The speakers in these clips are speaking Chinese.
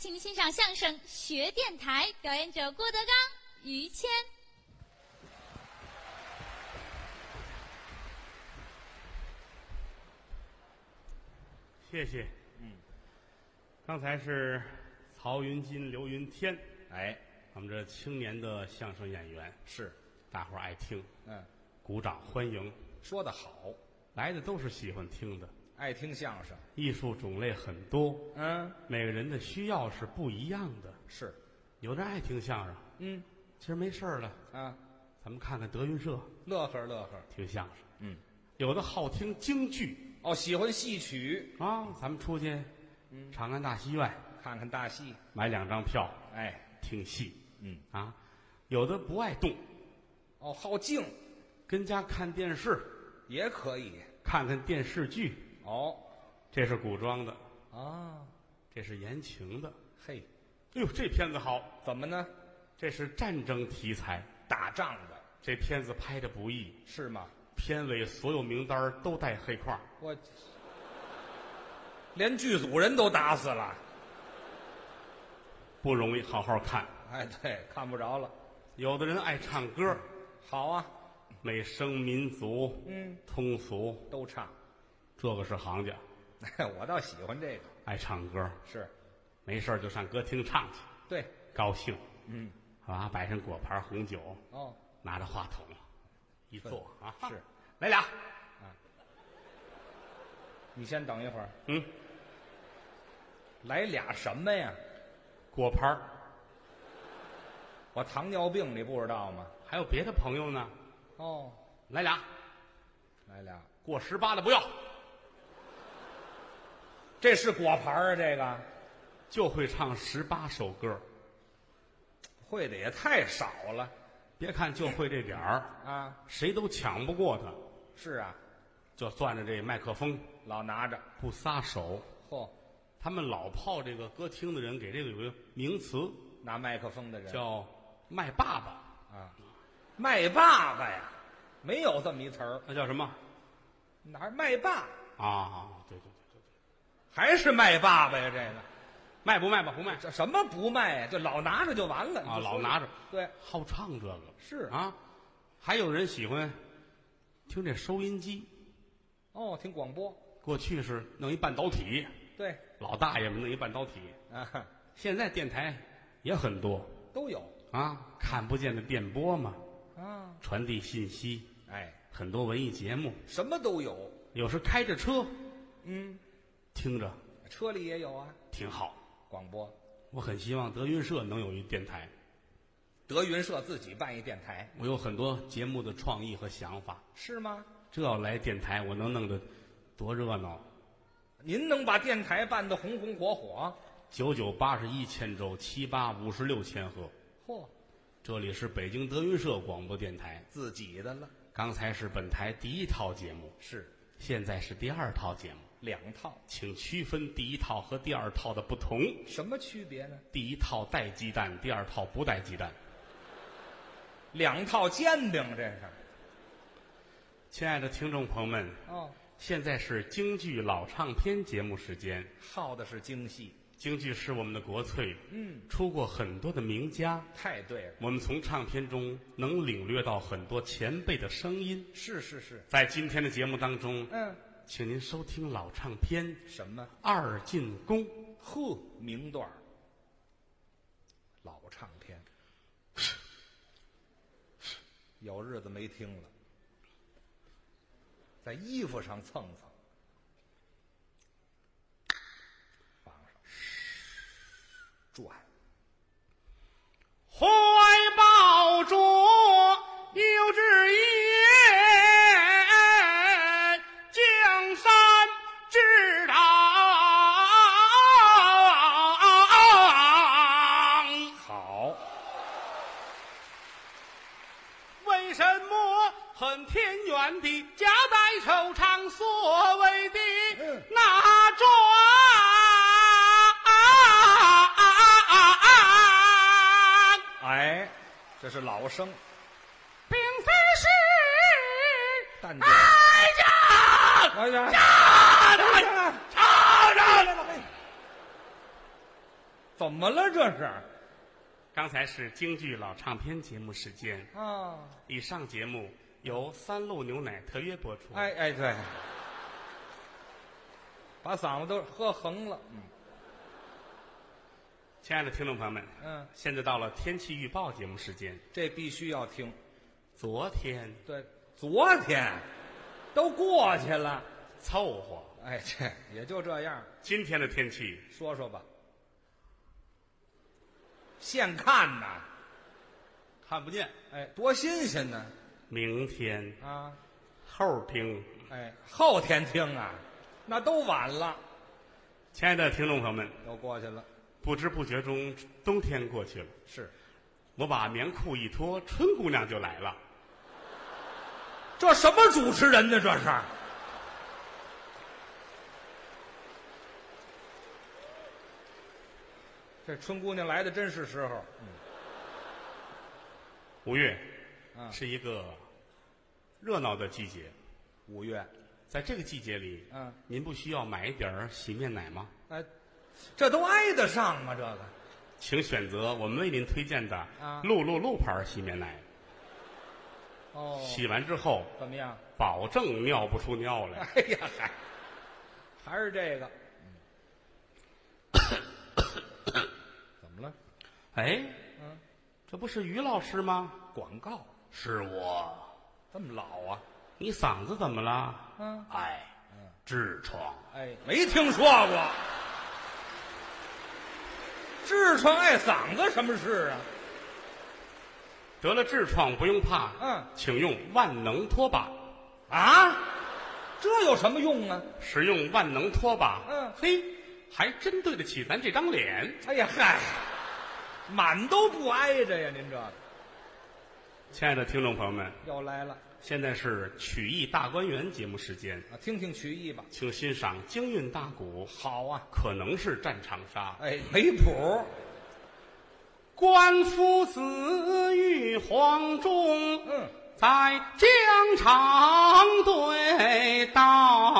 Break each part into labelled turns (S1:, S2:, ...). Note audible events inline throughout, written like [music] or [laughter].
S1: 请您欣赏相声《学电台》，表演者郭德纲、于谦。
S2: 谢谢。嗯，刚才是曹云金、刘云天，
S3: 哎，
S2: 我们这青年的相声演员，
S3: 是，
S2: 大伙儿爱听，
S3: 嗯，
S2: 鼓掌欢迎。
S3: 说的好，
S2: 来的都是喜欢听的，
S3: 爱听相声，
S2: 艺术种类很多，
S3: 嗯，
S2: 每个人的需要是不一样的。
S3: 是，
S2: 有的爱听相声，
S3: 嗯
S2: 其实没事儿了，
S3: 啊，
S2: 咱们看看德云社
S3: 乐呵乐呵，
S2: 听相声。
S3: 嗯，
S2: 有的好听京剧
S3: 哦，喜欢戏曲，
S2: 啊，咱们出去，长安大戏院
S3: 看看大戏，
S2: 买两张票
S3: 哎，
S2: 听戏
S3: 嗯，
S2: 啊。有的不爱动，
S3: 哦，好静
S2: 跟家看电视，
S3: 也可以，
S2: 看看电视剧，
S3: 哦，
S2: 这是古装的，
S3: 啊，
S2: 这是言情的。
S3: 嘿，
S2: 哎呦，这片子好，
S3: 怎么呢？
S2: 这是战争题材，
S3: 打仗的
S2: 这片子拍的不易，
S3: 是吗？
S2: 片尾所有名单儿都带黑框儿，
S3: 我连剧组人都打死了，
S2: 不容易好好看。
S3: 哎，对，看不着了，
S2: 有的人爱唱歌，
S3: 好啊，
S2: 美声、民族、
S3: 嗯，
S2: 通俗，
S3: 都唱， [laughs]
S2: 这个是行家，
S3: 哎，我倒喜欢这个，
S2: 爱唱歌，
S3: 是，
S2: 没事儿就上歌厅唱去，
S3: 对，
S2: 高兴，
S3: 嗯，
S2: 啊，摆上果盘、红酒，
S3: 哦，
S2: 拿着话筒一坐啊，
S3: 是，
S2: 来俩，
S3: 你先等一会儿。
S2: 嗯，
S3: 来俩什么呀？
S2: 果盘儿
S3: 我糖尿病，你不知道吗？
S2: 还有别的朋友呢，
S3: 哦，
S2: 来俩，
S3: 来俩，
S2: 过十八的不要，
S3: 这是果盘儿啊，这个
S2: 就会唱十八首歌，
S3: 会的也太少了
S2: 别看就会这点儿，
S3: 啊！
S2: 谁都抢不过他，
S3: 是啊，
S2: 就攥着这麦克风
S3: 老拿着，
S2: 不撒手。
S3: 嚯、
S2: 他们老泡这个歌厅的人给这个有个名词
S3: 拿麦克风的人
S2: 叫“麦爸爸
S3: 啊，麦爸爸呀，没有这么一词儿”，，
S2: 那叫什么
S3: 哪儿麦霸？
S2: 啊？对对对对对，
S3: 还是麦爸爸呀？这个
S2: 卖不卖吧？不卖
S3: 这什么不卖呀？就老拿着就完了
S2: 啊，
S3: 你就
S2: 老
S3: 说
S2: 拿着，
S3: 对，
S2: 好唱这个
S3: 是
S2: 啊。还有人喜欢听这收音机，
S3: 哦，听广播，
S2: 过去是弄一半导体，
S3: 对
S2: 老大爷们弄一半导体，
S3: 啊，
S2: 现在电台也很多
S3: 都有
S2: 啊，看不见的电波嘛，
S3: 啊，
S2: 传递信息，
S3: 哎，
S2: 很多文艺节目，
S3: 什么都有，
S2: 有时开着车
S3: 嗯。
S2: 听着
S3: 车里也有啊，
S2: 挺好。
S3: 广播。
S2: 我很希望德云社能有一电台，
S3: 德云社自己办一电台
S2: 我有很多节目的创意和想法。
S3: 是吗？
S2: 这要来电台，我能弄得多热闹！
S3: 您能把电台办得红红火火？
S2: 九九八十一千州，七八五十六千赫。
S3: 嚯、
S2: 这里是北京德云社广播电台，
S3: 自己的了，
S2: 刚才是本台第一套节目，
S3: 是
S2: 现在是第二套节目，
S3: 两套，
S2: 请区分第一套和第二套的不同。
S3: 什么区别呢？
S2: 第一套带鸡蛋，第二套不带鸡蛋。
S3: 两套煎饼这是？
S2: 亲爱的听众朋友们，
S3: 哦，
S2: 现在是京剧老唱片节目时间，
S3: 耗的是精细。
S2: 京剧是我们的国粹。
S3: 嗯，
S2: 出过很多的名家，
S3: 太对了，
S2: 我们从唱片中能领略到很多前辈的声音。
S3: 是是是，
S2: 在今天的节目当中，
S3: 嗯，
S2: 请您收听老唱片《
S3: 什么？
S2: 二进宫》。
S3: 呵，名段儿老唱片，有日子没听了，在衣服上蹭蹭，绑上，转，
S2: 怀抱着幼稚园，江山之岛。
S3: 好，
S2: 为什么恨天远地夹带手唱所谓的
S3: 嗯
S2: 那桩？
S3: 哎，这是老生，
S2: 并非是
S3: 淡定，
S2: 爱呀，
S3: 哎呀，
S2: 大
S3: 哎呀
S2: 吵
S3: 来
S2: 着
S3: 来来，嘿怎么了这是？
S2: 刚才是京剧老唱片节目时间，
S3: 啊，
S2: 以上节目由三鹿牛奶特约播出。
S3: 哎哎对，把嗓子都喝横了，嗯
S2: 亲爱的听众朋友们，
S3: 嗯，
S2: 现在到了天气预报节目时间。
S3: 这必须要听。
S2: 昨天
S3: 对，昨天都过去了，
S2: 凑合，
S3: 哎，这也就这样。
S2: 今天的天气
S3: 说说吧，现看呐，
S2: 看不见。
S3: 哎，多新鲜呢！
S2: 明天
S3: 啊，
S2: 后听，
S3: 哎，后天听啊，那都晚了，
S2: 亲爱的听众朋友们，
S3: 都过去了。
S2: 不知不觉中冬天过去了，
S3: 是，
S2: 我把棉裤一脱，春姑娘就来了。
S3: 这什么主持人呢？这是这春姑娘来的真是时候，
S2: 五月
S3: 嗯
S2: 是一个热闹的季节，
S3: 五月，
S2: 在这个季节里，
S3: 嗯，
S2: 您不需要买一点儿洗面奶吗？
S3: 哎，这都挨得上吗？这个
S2: 请选择我们为您推荐的
S3: 啊
S2: 露露露牌洗面奶，
S3: 哦，
S2: 洗完之后
S3: 怎么样？
S2: 保证尿不出尿来。
S3: [laughs] 哎呀，嗨，还是这个，怎么了？
S2: 哎，
S3: 嗯，
S2: 这不是于老师吗？
S3: 广告
S2: 是我，
S3: 这么老啊？
S2: 你嗓子怎么了？
S3: 嗯，
S2: 哎，痔疮。
S3: 哎，没听说过。痔疮爱嗓子什么事啊？
S2: 得了痔疮不用怕，
S3: 嗯
S2: 请用万能拖把，
S3: 啊，这有什么用啊？
S2: 使用万能拖把，
S3: 嗯
S2: 嘿，还真对得起咱这张脸。
S3: 哎呀，嗨，满都不挨着呀！您这个
S2: 亲爱的听众朋友们，
S3: 又来了
S2: 现在是曲艺大观园节目时间，
S3: 啊，听听曲艺吧。
S2: 请欣赏京韵大鼓。
S3: 好啊，
S2: 可能是战长沙。
S3: 哎，没谱。
S2: 官夫子与黄忠，
S3: 嗯，
S2: 在疆场对道。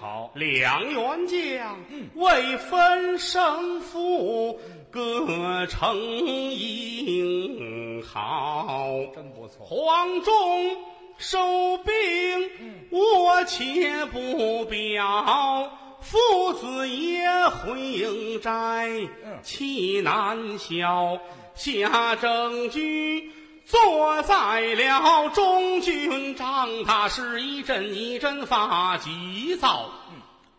S3: 好，
S2: 两员将
S3: 嗯
S2: 未分胜负，各逞英豪。
S3: 真不错。
S2: 黄忠收兵，我且不表。父子也回营寨，气难消。夏正居坐在了中军帐，他是一阵一阵发急躁。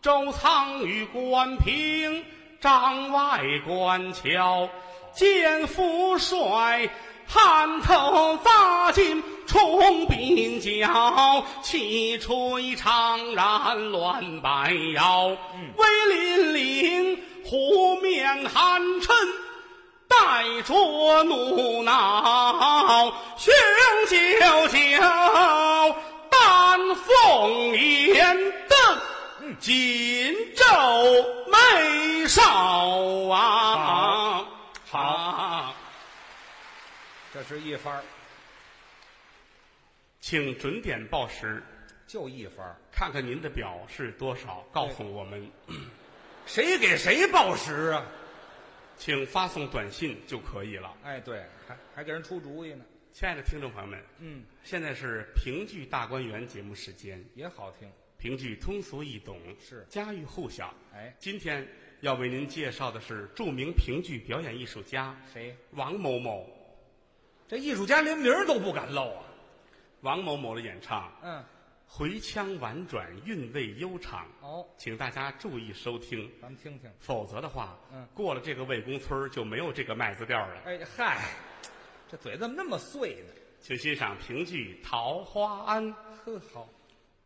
S2: 周仓与关平、帐外关桥，见父帅汗头扎进冲鬓角，气吹长髯乱摆腰，威凛凛，湖面寒嗔。带着怒恼，雄赳赳，丹凤眼瞪，紧皱眉梢啊！
S3: 好
S2: 好，
S3: 这是一番儿
S2: 请准点报时，
S3: 就一番儿
S2: 看看您的表是多少，告诉我们，
S3: 谁给谁报时啊？
S2: 请发送短信就可以了。
S3: 哎，对，还还给人出主意呢。
S2: 亲爱的听众朋友们，
S3: 嗯，
S2: 现在是评剧大观园节目时间。
S3: 也好听。
S2: 评剧通俗易懂，
S3: 是
S2: 家喻户晓。
S3: 哎，
S2: 今天要为您介绍的是著名评剧表演艺术家
S3: 谁？
S2: 王某某。
S3: 这艺术家连名儿都不敢露啊。
S2: 王某某的演唱，
S3: 嗯，
S2: 回腔婉转，韵味悠长，
S3: 哦，
S2: 请大家注意收听，
S3: 咱们听听。
S2: 否则的话，
S3: 嗯
S2: 过了这个魏公村儿就没有这个麦子调儿了。
S3: 哎嗨，这嘴怎么那么碎呢？
S2: 请欣赏评剧《桃花庵》。
S3: 呵，好，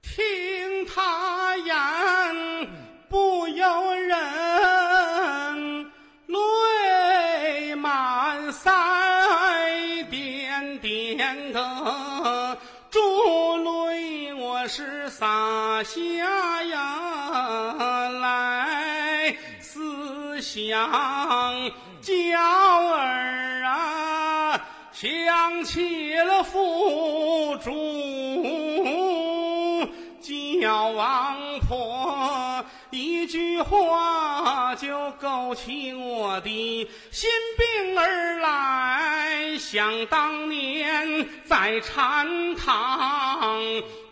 S2: 听他言，不由人泪满腮，点点的珠泪我是洒下呀来，思想娇儿啊，想起了父主。叫王婆一句话就勾起我的心病而来。想当年在禅堂，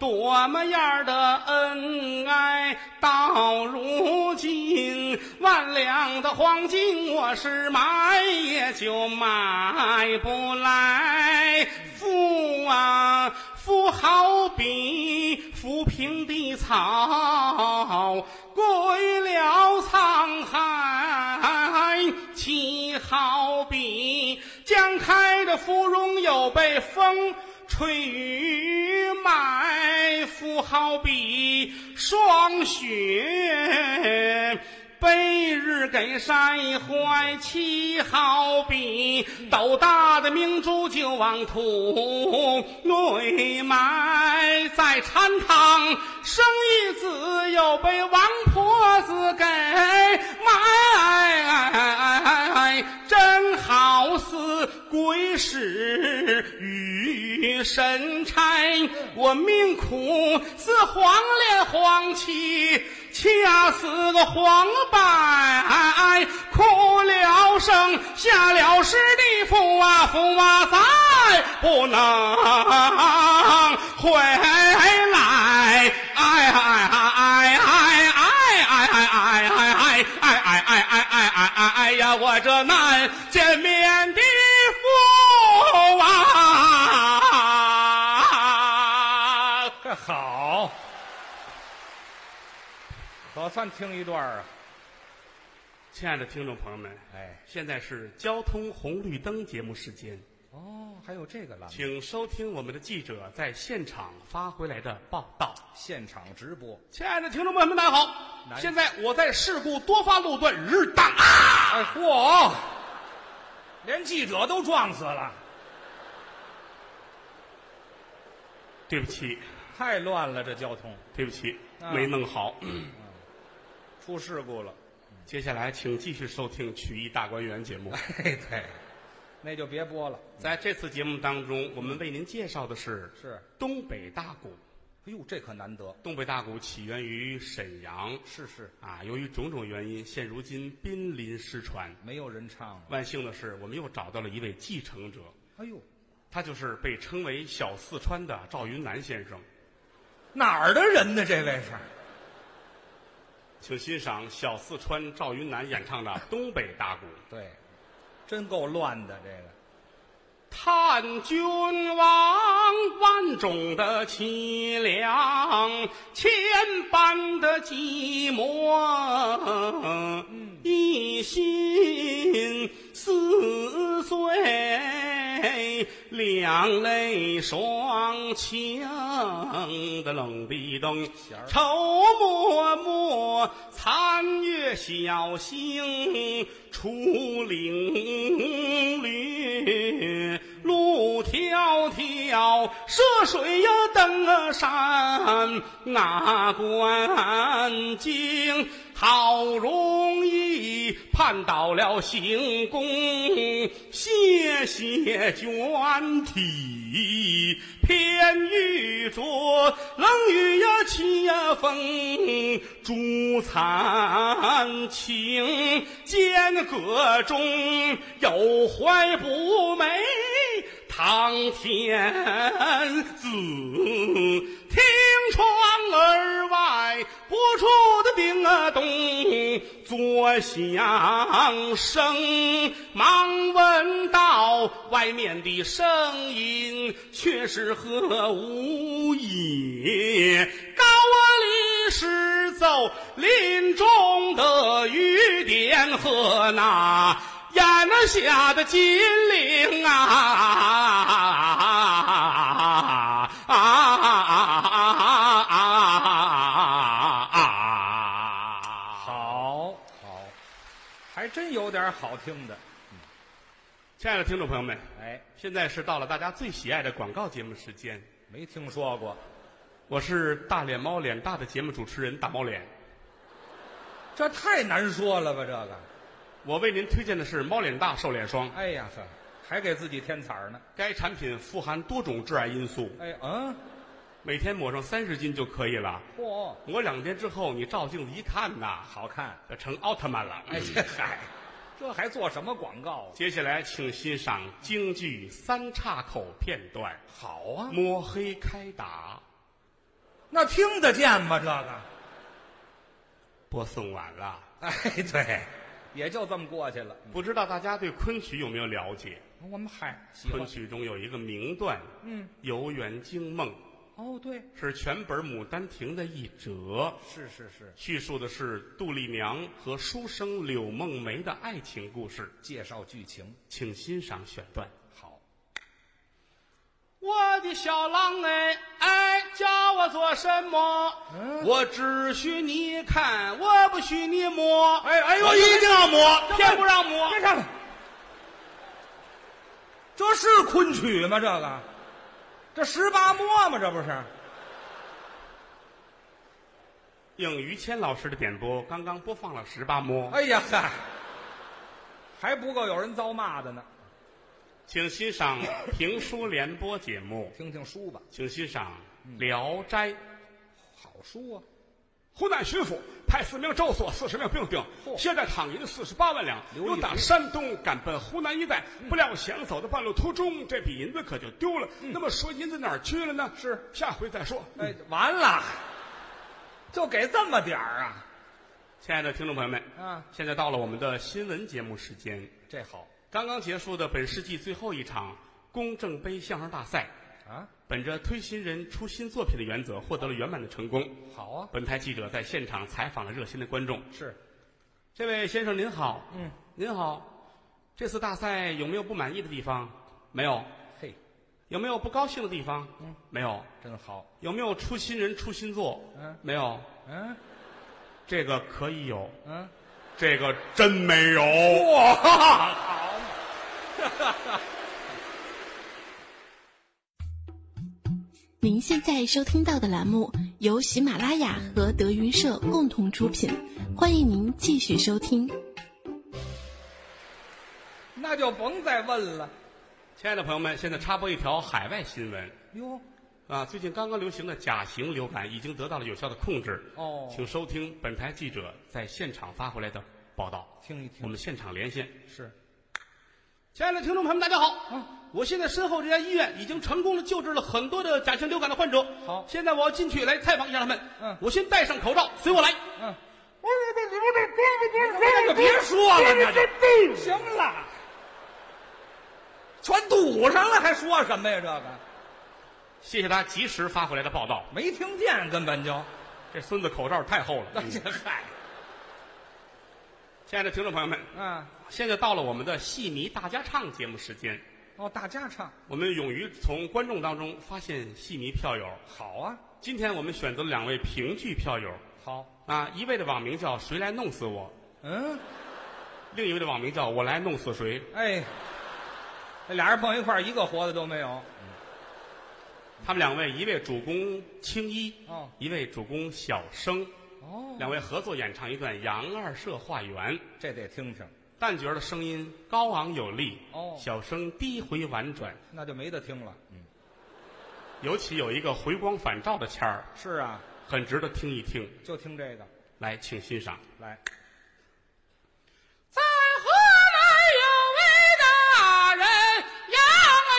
S2: 多么样的恩爱，到如今万两的黄金，我是买也就买不来。富啊，富好比浮萍的草，归了沧海；其好比将开的芙蓉，又被风吹雨埋；富好比霜雪。被日给晒坏，气好比斗大的明珠就往土里埋，在禅堂生一子，又被王婆子给埋，真好似鬼使与神差，我命苦似黄连黄芪。掐死个黄白，哭了声，下了师的父啊父啊，再不能回来，哎哎哎哎哎哎哎哎哎哎哎哎哎哎哎哎哎哎呀！我这难见面的父啊！
S3: 这好，可算听一段儿啊！
S2: 亲爱的听众朋友们，
S3: 哎，
S2: 现在是交通红绿灯节目时间，
S3: 哦，还有这个栏目，
S2: 请收听我们的记者在现场发回来的报道。
S3: 现场直播。
S2: 亲爱的听众朋友们，大家好！
S3: 南
S2: 现在我在事故多发路段日当啊，
S3: 哎嚯，连记者都撞死了，
S2: 对不起，
S3: 太乱了，这交通
S2: 对不起，
S3: 啊
S2: 没弄好。
S3: 出事故了。
S2: 接下来请继续收听《曲艺大观园》节目。
S3: 哎对，那就别播了。
S2: 在这次节目当中，我们为您介绍的是
S3: 是，
S2: 东北大鼓。
S3: 哎呦，这可难得。
S2: 东北大鼓起源于沈阳
S3: 是是，
S2: 啊，由于种种原因，现如今濒临失传。
S3: 没有人唱了。
S2: 万幸的是，我们又找到了一位继承者，
S3: 哎呦，
S2: 他就是被称为“小四川”的赵云南先生。
S3: 哪儿的人呢？这位是？
S2: 请欣赏小四川赵云南演唱的《东北大鼓》。
S3: 对，真够乱的这个。
S2: 叹君王万种的凄凉，千般的寂寞，一心似醉，两泪双倾的冷的灯，愁默默，残月小星，出岭绿，路迢迢，涉水呀，登啊山，哪关经？好容易盼到了行宫，谢谢卷体，偏遇着冷雨呀，凄呀风，珠残情，间隔中有怀不寐。堂天子，听窗而外不处的叮啊咚，作响声。忙问道，外面的声音却是何物也？高啊里是奏林中的雨点和那。眼下的金陵啊啊啊啊啊！
S3: 好，好，还真有点好听的。
S2: 亲爱的听众朋友们，
S3: 哎，
S2: 现在是到了大家最喜爱的广告节目时间。
S3: 没听说过，
S2: 我是大脸猫脸大的节目主持人大猫脸，
S3: 这太难说了吧？这个，
S2: 我为您推荐的是猫脸大瘦脸霜。
S3: 哎呀，还给自己添彩儿呢。
S2: 该产品富含多种致癌因素，
S3: 哎，嗯，
S2: 每天抹上三十斤就可以了。
S3: 嚯、
S2: 抹两天之后，你照镜子一看呐，
S3: 好看！
S2: 这成奥特曼了。
S3: 哎，这嗨，这还做什么广告？
S2: 接下来，请欣赏京剧三岔口片段
S3: 好
S2: 《
S3: 啊
S2: 摸黑开打
S3: 那听得见吗？这个，》，
S2: 播送完了。
S3: 哎，对，也就这么过去了。
S2: 不知道大家对昆曲有没有了解？
S3: 我们嗨，喜
S2: 昆
S3: 欢，
S2: 曲中有一个名段，
S3: 嗯，
S2: 《游园惊梦
S3: 哦，对，》
S2: 是全本《牡丹亭》的一折，
S3: 是是是，
S2: 叙述的是杜丽娘和书生柳梦梅的爱情故事，
S3: 介绍剧情
S2: 请欣赏选段。
S3: 好，
S2: 我的小郎哎哎，叫我做什么？
S3: 嗯
S2: 我只许你看，我不许你摸。
S3: 哎哎呦
S2: 我一定要
S3: 这
S2: 摸，
S3: 不
S2: 偏不让摸。
S3: 别上来，这是昆曲吗？这个，这十八摸吗？这不是？
S2: 应于谦老师的点播，刚刚播放了十八摸，
S3: 哎呀嗨，还不够有人遭骂的呢。
S2: 请欣赏评书联播节目，
S3: 听听书吧，
S2: 请欣赏《聊斋》。
S3: 好书啊。
S2: 湖南巡抚派四名州所四十名兵丁，
S3: 嚯
S2: 携带躺银四十八万两，
S3: 刘嗯
S2: 由
S3: 一
S2: 打
S3: 手
S2: 山东赶奔湖南一带。不料想走的半路途中，这笔银子可就丢了。
S3: 嗯
S2: 那么说银子哪儿去了呢？是下回再说。
S3: 哎，完了，就给这么点儿啊！
S2: 亲爱的听众朋友们，
S3: 啊，
S2: 现在到了我们的新闻节目时间，
S3: 这好
S2: 刚刚结束的本世纪最后一场公正杯相声大赛，
S3: 啊，
S2: 本着推新人出新作品的原则，获得了圆满的成功。
S3: 好啊，
S2: 本台记者在现场采访了热心的观众。
S3: 是
S2: 这位先生您好，
S3: 嗯，
S2: 您好，这次大赛有没有不满意的地方？没有。
S3: 嘿，
S2: 有没有不高兴的地方？嗯，没有。
S3: 真好，
S2: 有没有出新人出新作？
S3: 嗯，
S2: 没有。
S3: 嗯
S2: 这个可以有，
S3: 嗯，
S2: 这个真没有。
S3: 哇，好，
S4: 您现在收听到的栏目由喜马拉雅和德云社共同出品，欢迎您继续收听。
S3: 那就甭再问了。
S2: [laughs] 亲爱的朋友们，现在插播一条海外新闻
S3: 哟，
S2: 啊，最近刚刚流行的甲型流感已经得到了有效的控制。
S3: 哦
S2: 请收听本台记者在现场发回来的报道。
S3: 听一
S2: 我
S3: 听，
S2: 们现场连线。
S3: 是
S2: 亲爱的听众朋友们，大家好！
S3: 啊，
S2: 我现在身后这家医院已经成功的救治了很多的甲型流感的患者。
S3: 好
S2: 现在我要进去来采访一下他们。
S3: 嗯
S2: 我先戴上口罩，随我来。
S3: 嗯，那就别说了，那就行了，全堵上了，还说什么呀？这个
S2: 谢谢他及时发回来的报道。
S3: 没听见，根本就，
S2: 这孙子口罩太厚
S3: [laughs]
S2: 了。
S3: 这嗨，
S2: 亲爱的听众朋友们，
S3: 啊，
S2: 现在到了我们的戏迷大家唱节目时间，
S3: 哦，大家唱
S2: 我们勇于从观众当中发现戏迷票友。
S3: 好啊，
S2: 今天我们选择了两位评剧票友
S3: 好，
S2: 啊，一位的网名叫“谁来弄死我
S3: 嗯。”，
S2: 另一位的网名叫“我来弄死谁
S3: 哎，这俩人碰一块儿，一个活的都没有。”。
S2: 他们两位，一位主攻青衣，
S3: 哦
S2: 一位主攻小生，
S3: 哦，
S2: 两位合作演唱一段《杨二社化缘》。
S3: 这得听听，
S2: 旦角的声音高昂有力，
S3: 哦
S2: 小生低回婉转，
S3: 那就没得听了。
S2: 尤其有一个回光返照的腔儿，
S3: 是啊，
S2: 很值得听一听。
S3: 就听这个
S2: 来，请欣赏。
S3: 来。
S2: 在河南有位大人，养啊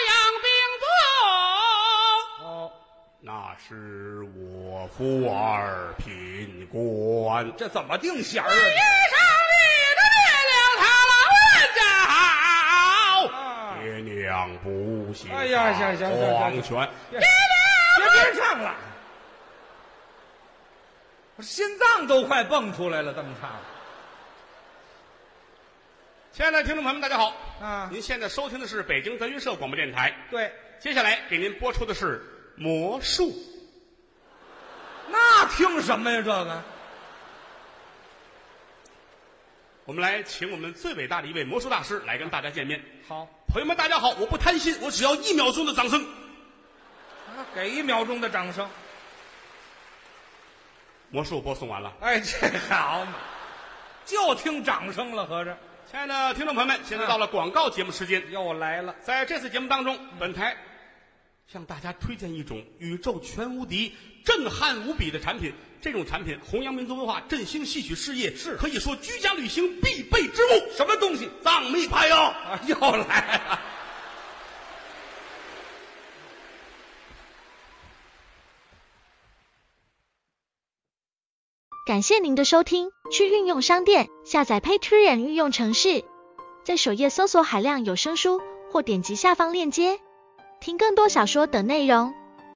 S2: 养病多。
S3: 哦，
S2: 那是我夫儿贫官，遇上
S3: 这怎么定弦儿啊？
S2: 你的月亮，他老人家好。
S3: 啊
S2: 爹娘不行，
S3: 哎呀行行行行
S2: 黄泉。
S3: 别别别唱了，我心脏都快蹦出来了，这么唱
S2: 亲爱的听众朋友们，大家好。
S3: 啊？
S2: 您现在收听的是北京德云社广播电台，
S3: 对，
S2: 接下来给您播出的是魔术。
S3: 那听什么呀？这个
S2: 我们来请我们最伟大的一位魔术大师来跟大家见面。
S3: 好
S2: 朋友们，大家好，我不贪心，我只要一秒钟的掌声。
S3: 啊，给一秒钟的掌声。
S2: 魔术播送完了，
S3: 哎，这好嘛，就听掌声了，合着
S2: 亲爱的听众朋友们，现在到了广告节目时间，
S3: 又来了。
S2: 在这次节目当中，本台向大家推荐一种宇宙全无敌、震撼无比的产品。这种产品弘扬民族文化，振兴戏曲事业，
S3: 是
S2: 可以说居家旅行必备之物。
S3: 什么东西
S2: 藏秘拍哟，
S3: 啊？又来了，
S5: 感谢您的收听，去运用商店下载 Patreon 运用城市，在首页搜索海量有声书，或点击下方链接听更多小说等内容。